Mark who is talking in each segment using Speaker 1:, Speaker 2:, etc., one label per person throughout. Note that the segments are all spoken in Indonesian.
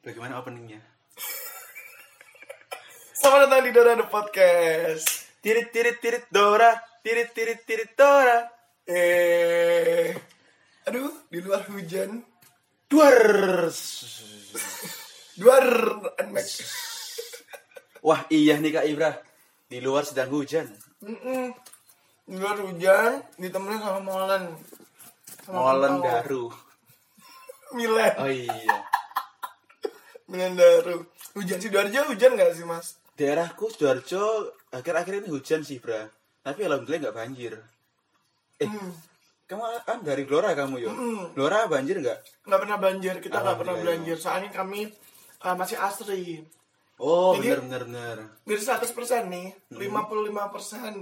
Speaker 1: Bagaimana openingnya?
Speaker 2: Selamat datang di Dora The Podcast.
Speaker 1: Tirit tirit tirit Dora, tirit tirit tirit Dora.
Speaker 2: Eh, aduh, di luar hujan,
Speaker 1: Duars.
Speaker 2: luar unmax.
Speaker 1: Wah iya nih Kak Ibra, di luar sedang hujan.
Speaker 2: Mm-mm. Di luar hujan, ditemenin sama Molen.
Speaker 1: Molen
Speaker 2: kental.
Speaker 1: Daru.
Speaker 2: Milen,
Speaker 1: Oh iya.
Speaker 2: Milen Daru. Hujan sih, Sidoarjo hujan gak sih mas?
Speaker 1: Daerahku Sidoarjo akhir-akhir ini hujan sih Bra. Tapi alhamdulillah nggak banjir. Eh, kamu kan dari Glora kamu yo. Glora banjir nggak?
Speaker 2: Nggak pernah banjir, kita nggak pernah
Speaker 1: Alhamdulillah.
Speaker 2: banjir. Soalnya kami eh, masih asri.
Speaker 1: Oh
Speaker 2: Jadi-
Speaker 1: bener bener bener.
Speaker 2: Dari 100% nih,
Speaker 1: Hmm.
Speaker 2: 55%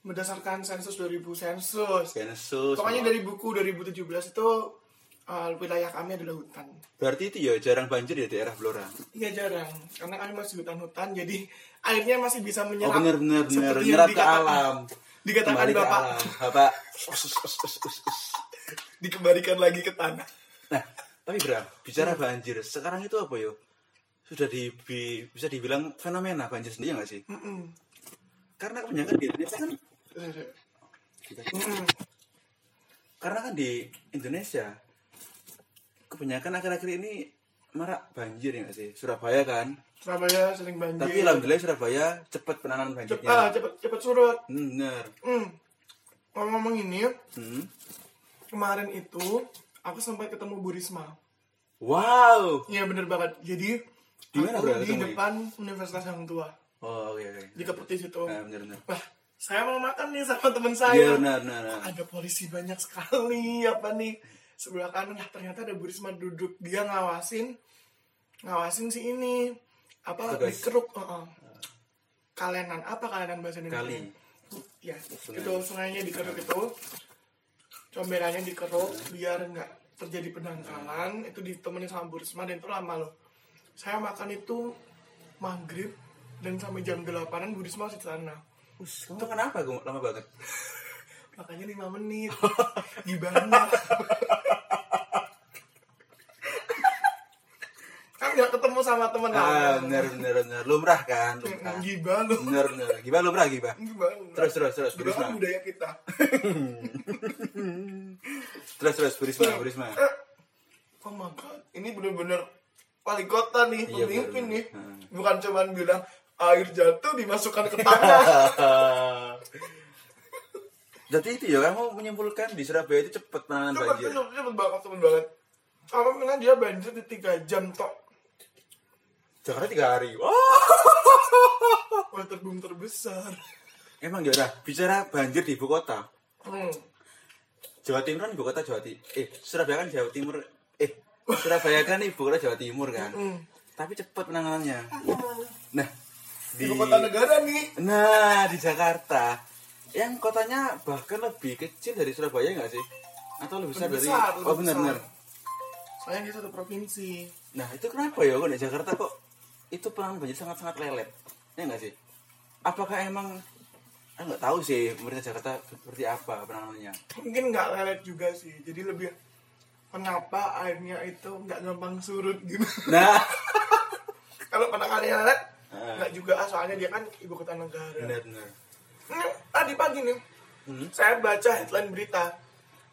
Speaker 2: berdasarkan sensus 2000 sensus.
Speaker 1: Sensus.
Speaker 2: Pokoknya dari buku 2017 itu eh, wilayah kami adalah hutan.
Speaker 1: Berarti itu ya jarang banjir ya daerah Blora.
Speaker 2: Iya jarang, karena kami masih hutan-hutan, jadi airnya masih bisa
Speaker 1: Oh
Speaker 2: menyerap.
Speaker 1: bener bener bener.
Speaker 2: Seperti yang
Speaker 1: Nyerap ke
Speaker 2: dikatakan-
Speaker 1: alam.
Speaker 2: Dikatakan
Speaker 1: Kembali ke
Speaker 2: bapak,
Speaker 1: alam. Bapak.
Speaker 2: dikembalikan lagi ke tanah.
Speaker 1: Nah, tapi Bra,
Speaker 2: Hmm.
Speaker 1: bicara banjir, sekarang itu apa yo? Sudah di, bi- bisa dibilang fenomena banjir sendiri nggak sih?
Speaker 2: Mm-mm.
Speaker 1: Karena kebanyakan di Indonesia kan
Speaker 2: Mm-mm.
Speaker 1: karena kan di Indonesia kebanyakan akhir-akhir ini marak banjir ya nggak sih? Surabaya kan.
Speaker 2: Surabaya sering banjir.
Speaker 1: Tapi ya. alhamdulillah Surabaya cepat penanganan
Speaker 2: Cep-
Speaker 1: banjirnya.
Speaker 2: ah, cepet cepet surut.
Speaker 1: Hmm, Bener.
Speaker 2: Mm. Ngomong-ngomong ini,
Speaker 1: Hmm.
Speaker 2: kemarin itu aku sempat ketemu Bu Risma.
Speaker 1: Wow.
Speaker 2: Iya bener banget. Jadi
Speaker 1: Di mana,
Speaker 2: aku
Speaker 1: Bro,
Speaker 2: di
Speaker 1: ketemu?
Speaker 2: depan Universitas Hang Tua
Speaker 1: Oh, oke oke.
Speaker 2: di Keputi situ.
Speaker 1: Nah, bener bener.
Speaker 2: Wah, saya mau makan nih sama teman saya.
Speaker 1: Iya benar benar. benar.
Speaker 2: ada polisi banyak sekali apa nih sebelah kanan nah, ternyata ada Bu Risma duduk dia ngawasin ngawasin si ini apa
Speaker 1: Tugas.
Speaker 2: dikeruk heeh. kalenan apa kalenan bahasa Indonesia
Speaker 1: Kali.
Speaker 2: ya itu sungainya dikeruk itu comberannya dikeruk biar nggak terjadi pendangkalan itu ditemenin sama Bu Risma dan itu lama loh saya makan itu maghrib dan sampai jam 8an Bu Risma masih di sana
Speaker 1: Us, Kamu kenapa kamu lama banget?
Speaker 2: makanya lima menit gimana kan nggak ketemu sama temen
Speaker 1: Ah,
Speaker 2: lama
Speaker 1: bener bener bener. Lumrah kan? Lumrah.
Speaker 2: gimana lu
Speaker 1: Bener bener. Gimana lumrah gimana?
Speaker 2: gimana
Speaker 1: Terus terus terus
Speaker 2: Gimana
Speaker 1: Burisma.
Speaker 2: budaya kita
Speaker 1: Terus terus Burisma Burisma.
Speaker 2: Eh, oh my god ini bener-bener wali kota nih
Speaker 1: Iya,
Speaker 2: pemimpin
Speaker 1: bener-bener. Ah.
Speaker 2: nih bukan cuman bilang air jatuh dimasukkan ke tanah
Speaker 1: Jadi itu ya kamu menyimpulkan di Surabaya itu cepat penanganan
Speaker 2: cepet
Speaker 1: banjir.
Speaker 2: cepet cepet banget cepet banget apa pernah dia banjir di tiga jam tok
Speaker 1: Jakarta tiga hari. Oh.
Speaker 2: water boom terbesar
Speaker 1: Emang ya udah bicara banjir di ibu kota.
Speaker 2: hmm.
Speaker 1: Jawa Timur kan ibu kota Jawa Timur. Eh Surabaya kan Jawa Timur. Eh Surabaya kan ibu kota Jawa Timur kan.
Speaker 2: Hmm.
Speaker 1: Tapi cepat penanganannya. Nah di
Speaker 2: ibu kota negara nih
Speaker 1: Nah, di Jakarta yang kotanya bahkan lebih kecil dari Surabaya nggak sih? Atau lebih besar dari
Speaker 2: Lebih besar, lebih
Speaker 1: Oh, benar
Speaker 2: besar.
Speaker 1: benar.
Speaker 2: Soalnya dia satu provinsi.
Speaker 1: Nah, itu kenapa ya kok di Jakarta kok itu penanganan banjir sangat-sangat lelet? Ya nggak sih? Apakah emang Ah, nggak tahu sih pemerintah Jakarta seperti apa penanganannya?
Speaker 2: Mungkin nggak lelet juga sih. Jadi lebih kenapa airnya itu nggak gampang surut gitu.
Speaker 1: Nah,
Speaker 2: Kalau penanganannya lelet
Speaker 1: Ah.
Speaker 2: nggak juga ah, soalnya dia kan ibu kota negara.
Speaker 1: benar-benar.
Speaker 2: Ini tadi pagi nih
Speaker 1: Hmm.
Speaker 2: saya baca headline berita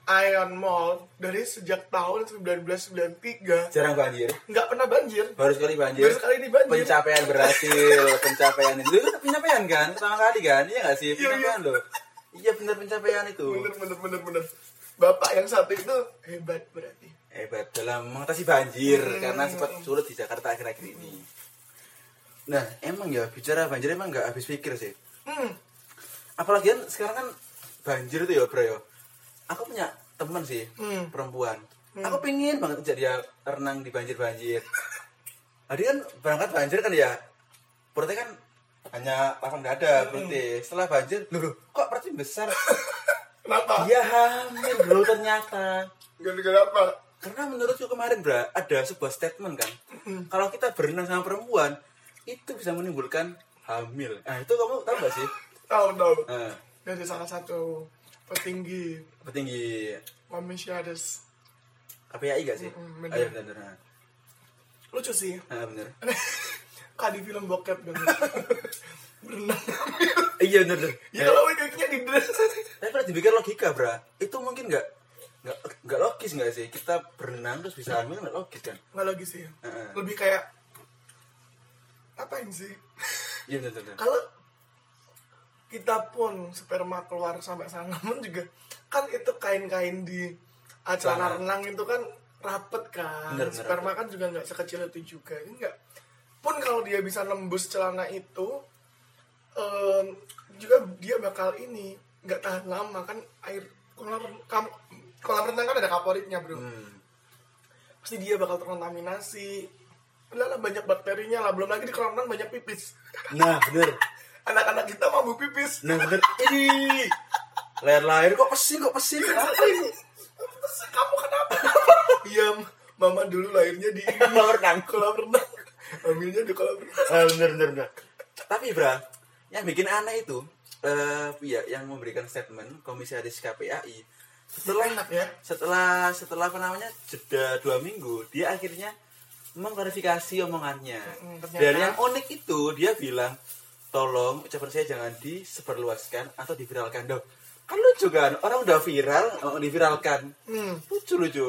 Speaker 2: Ion Mall dari sejak tahun 1993
Speaker 1: Jarang banjir.
Speaker 2: nggak pernah banjir.
Speaker 1: Baru sekali banjir.
Speaker 2: Baru sekali ini banjir.
Speaker 1: Pencapaian berhasil, pencapaian itu Itu pencapaian kan? Pertama kali kan? Iya nggak sih?
Speaker 2: Iya, iya.
Speaker 1: Pencapaian loh. Iya benar pencapaian itu.
Speaker 2: Bener bener bener bener. Bapak yang satu itu hebat berarti.
Speaker 1: hebat Eh, dalam mengatasi banjir
Speaker 2: Hmm.
Speaker 1: karena sempat surut di Jakarta akhir-akhir ini. Nah, emang ya bicara banjir emang nggak habis pikir sih.
Speaker 2: Hmm.
Speaker 1: Apalagi kan sekarang kan banjir itu ya bro ya. Aku punya teman sih
Speaker 2: Hmm.
Speaker 1: perempuan. Aku pingin banget jadi dia renang di banjir-banjir. Tadi kan berangkat banjir kan ya. Perutnya kan hanya lapang dada
Speaker 2: Hmm.
Speaker 1: berarti. Setelah banjir, loh, loh, kok perutnya besar?
Speaker 2: Kenapa?
Speaker 1: Dia hamil bro ternyata.
Speaker 2: Gara-gara apa?
Speaker 1: Karena menurutku kemarin Bra, ada sebuah statement kan. Kalau kita berenang sama perempuan, itu bisa menimbulkan hamil. Nah, itu kamu tahu gak sih?
Speaker 2: Tahu tahu.
Speaker 1: Nah,
Speaker 2: dari salah satu petinggi
Speaker 1: petinggi
Speaker 2: komisionis
Speaker 1: KPI gak sih?
Speaker 2: Mm-mm, bener.
Speaker 1: Ayo benar
Speaker 2: lucu sih
Speaker 1: Ah bener.
Speaker 2: kayak di film bokep dong berenang
Speaker 1: Iya bener. bener.
Speaker 2: ya kalau wajahnya di dress
Speaker 1: Tapi kalau dipikir logika, Bra, itu mungkin nggak nggak nggak logis nggak sih kita berenang terus bisa hamil nggak logis kan?
Speaker 2: nggak logis sih
Speaker 1: Heeh.
Speaker 2: lebih kayak apain sih
Speaker 1: Iya bener bener.
Speaker 2: kalau kita pun sperma keluar sampai sana pun juga kan itu kain-kain di
Speaker 1: Celana.
Speaker 2: acara renang itu kan rapet kan
Speaker 1: Bener, bener,
Speaker 2: sperma kan juga nggak sekecil itu juga ini nggak pun kalau dia bisa nembus celana itu em, juga dia bakal ini nggak tahan lama kan air kolam kam- kolam renang kan ada kaporitnya bro
Speaker 1: Hmm.
Speaker 2: pasti dia bakal terkontaminasi lah lah, banyak bakterinya lah belum lagi di kolam renang banyak pipis
Speaker 1: Nah bener.
Speaker 2: anak-anak kita mabuk pipis
Speaker 1: Nah bener. Ini lahir lahir kok pesing kok Nah, pesing apa ini?
Speaker 2: Terus, kamu kenapa iya mama dulu lahirnya di
Speaker 1: Kolam renang.
Speaker 2: kolam renang hamilnya di kolam renang
Speaker 1: Ah, bener bener bener. Tapi Bra, yang bikin aneh itu eh ya, yang memberikan statement Komisi Hadis KPAI setelah
Speaker 2: enak ya
Speaker 1: setelah setelah apa namanya jeda dua minggu dia akhirnya mengklarifikasi omongannya
Speaker 2: Mm, ternyata-
Speaker 1: dan yang unik itu dia bilang tolong ucapan saya jangan disebarluaskan atau diviralkan dong kan lucu kan orang udah viral oh, diviralkan
Speaker 2: hmm.
Speaker 1: lucu lucu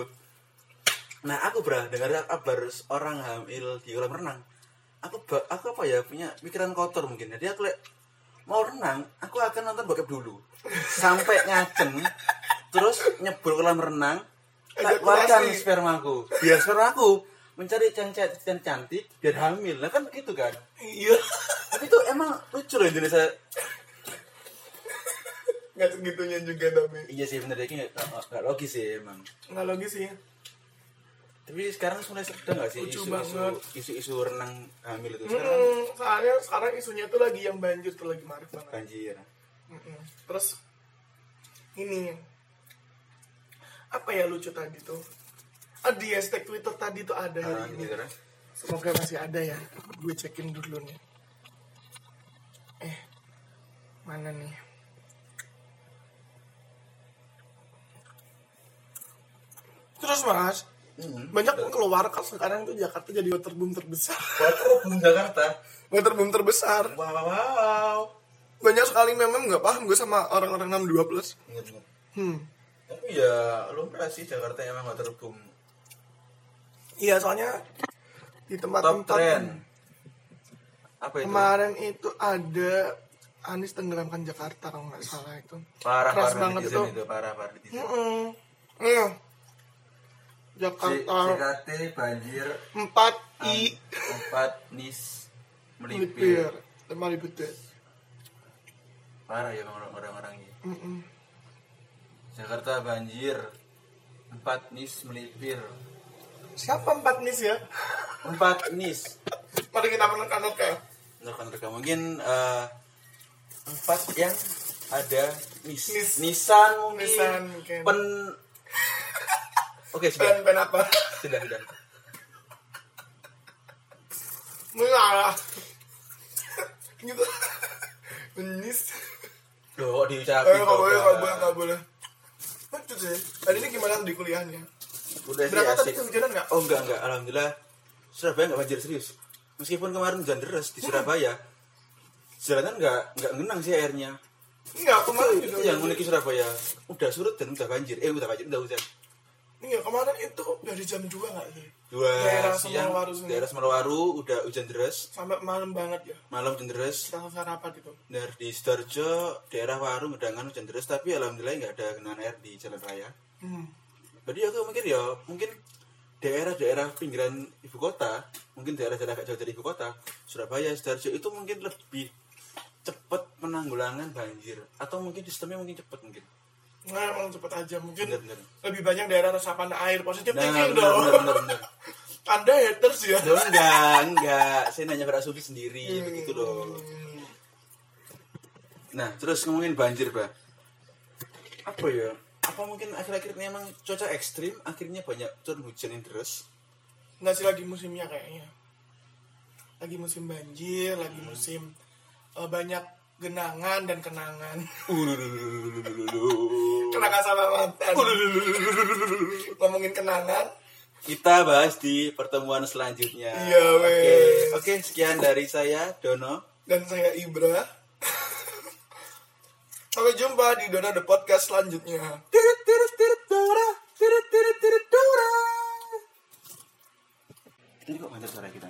Speaker 1: nah aku bra dengar kabar orang hamil di kolam renang aku ba- aku apa ya punya pikiran kotor mungkin jadi aku liat, mau renang aku akan nonton bokep dulu sampai ngaceng terus nyebur kolam renang tak
Speaker 2: Ejakulasi.
Speaker 1: keluarkan spermaku biar spermaku mencari yang ca- yang cantik biar hamil lah kan gitu kan
Speaker 2: iya
Speaker 1: tapi itu emang lucu loh Indonesia
Speaker 2: nggak segitunya juga tapi
Speaker 1: iya sih bener deh ini nggak- nggak nggak logis sih emang
Speaker 2: nggak logis sih
Speaker 1: Tapi sekarang mulai sedang gak sih isu-isu
Speaker 2: Lucu banget.
Speaker 1: isu-isu renang hamil itu sekarang
Speaker 2: hmm, soalnya sekarang isunya tuh lagi yang banjir tuh lagi marah banget
Speaker 1: banjir.
Speaker 2: Mm-mm. terus ini apa ya lucu tadi tuh ah, di hashtag Twitter tadi tuh ada
Speaker 1: Ah,
Speaker 2: hari ini.
Speaker 1: gitu kan.
Speaker 2: Semoga masih ada ya. Gue cekin dulu nih. Eh, mana nih? Terus mas, banyak yang keluar kan sekarang itu Jakarta jadi waterboom terbesar.
Speaker 1: Waterboom Jakarta.
Speaker 2: waterboom terbesar.
Speaker 1: Wow wow wow.
Speaker 2: Banyak sekali memang nggak paham gue sama orang-orang 62 plus.
Speaker 1: Bener, bener.
Speaker 2: Hmm.
Speaker 1: Tapi ya lumrah sih Jakarta emang waterboom.
Speaker 2: Iya soalnya di
Speaker 1: Top
Speaker 2: tempat-tempat
Speaker 1: trend. Apa itu?
Speaker 2: kemarin itu ada Anies tenggelamkan Jakarta kalau nggak salah itu.
Speaker 1: parah
Speaker 2: keras
Speaker 1: parah
Speaker 2: banget
Speaker 1: netizen
Speaker 2: itu.
Speaker 1: itu. parah parah netizen.
Speaker 2: Mm-mm. Iya.
Speaker 1: C-
Speaker 2: Jakarta
Speaker 1: CKT banjir
Speaker 2: 4 I
Speaker 1: empat nis melipir.
Speaker 2: melipir. iya. Lima ribut deh.
Speaker 1: Parah ya orang- orang-orang ini.
Speaker 2: Mm-mm.
Speaker 1: Jakarta banjir empat nis melipir.
Speaker 2: Siapa empat nis ya?
Speaker 1: Empat nis.
Speaker 2: Mari kita menurut ya.
Speaker 1: rekan rekan mungkin eh, empat yang ada Nis-
Speaker 2: Nis.
Speaker 1: Nissan mungkin
Speaker 2: Nissan mungkin.
Speaker 1: pen oke
Speaker 2: Ben,
Speaker 1: sudah
Speaker 2: ben apa?
Speaker 1: sudah sudah
Speaker 2: Mengalah. gitu. Menis.
Speaker 1: Duh, kok diucapin
Speaker 2: Eh, nggak boleh,
Speaker 1: Bang?
Speaker 2: nggak boleh, nggak boleh. Lucu sih. Hari ini gimana di kuliahnya?
Speaker 1: udah Iya sih
Speaker 2: Berangkat tadi
Speaker 1: asik.
Speaker 2: kehujanan nggak?
Speaker 1: oh enggak enggak alhamdulillah Surabaya enggak banjir serius meskipun kemarin hujan deras di Surabaya jalanan enggak enggak ngenang sih airnya
Speaker 2: Enggak, kemarin
Speaker 1: itu,
Speaker 2: juga.
Speaker 1: yang memiliki Surabaya udah surut dan udah banjir eh udah banjir udah hujan
Speaker 2: Enggak, kemarin itu dari jam 2 nggak sih?
Speaker 1: dua
Speaker 2: Daerah
Speaker 1: siang
Speaker 2: Semarwaru sini.
Speaker 1: daerah Semarwaru udah hujan deras
Speaker 2: Sampai malam banget ya.
Speaker 1: malam hujan deras
Speaker 2: Kita selesai rapat gitu.
Speaker 1: dari di Sidoarjo daerah Waru Medangan hujan deras tapi alhamdulillah nggak ada genangan air di jalan raya
Speaker 2: Hmm.
Speaker 1: jadi aku mikir ya mungkin daerah-daerah pinggiran ibu kota mungkin daerah-daerah agak jauh dari ibu kota Surabaya Sidoarjo itu mungkin lebih cepat penanggulangan banjir atau mungkin sistemnya mungkin cepat mungkin
Speaker 2: Nah, emang cepet aja mungkin
Speaker 1: Bener, bener.
Speaker 2: lebih banyak daerah resapan air positif
Speaker 1: nah
Speaker 2: thinking
Speaker 1: benar
Speaker 2: dong.
Speaker 1: benar benar benar
Speaker 2: Anda haters ya.
Speaker 1: Loh, enggak enggak saya nanya pada Sufi sendiri begitu loh
Speaker 2: Hmm.
Speaker 1: Nah, terus ngomongin banjir, Pak. Apa ya? Apa mungkin akhir-akhir ini emang cuaca ekstrim, akhirnya banyak turun hujan yang deras?
Speaker 2: Nggak sih lagi musimnya kayaknya. Lagi musim banjir,
Speaker 1: Hmm.
Speaker 2: lagi musim eh, banyak genangan dan kenangan.
Speaker 1: Ululululululu.
Speaker 2: Kenangan sama mantan. Ngomongin kenangan,
Speaker 1: kita bahas di pertemuan selanjutnya.
Speaker 2: Iya,
Speaker 1: Oke,
Speaker 2: wes.
Speaker 1: oke sekian dari saya Dono.
Speaker 2: dan saya Ibra. Sampai jumpa di Dona The Podcast selanjutnya.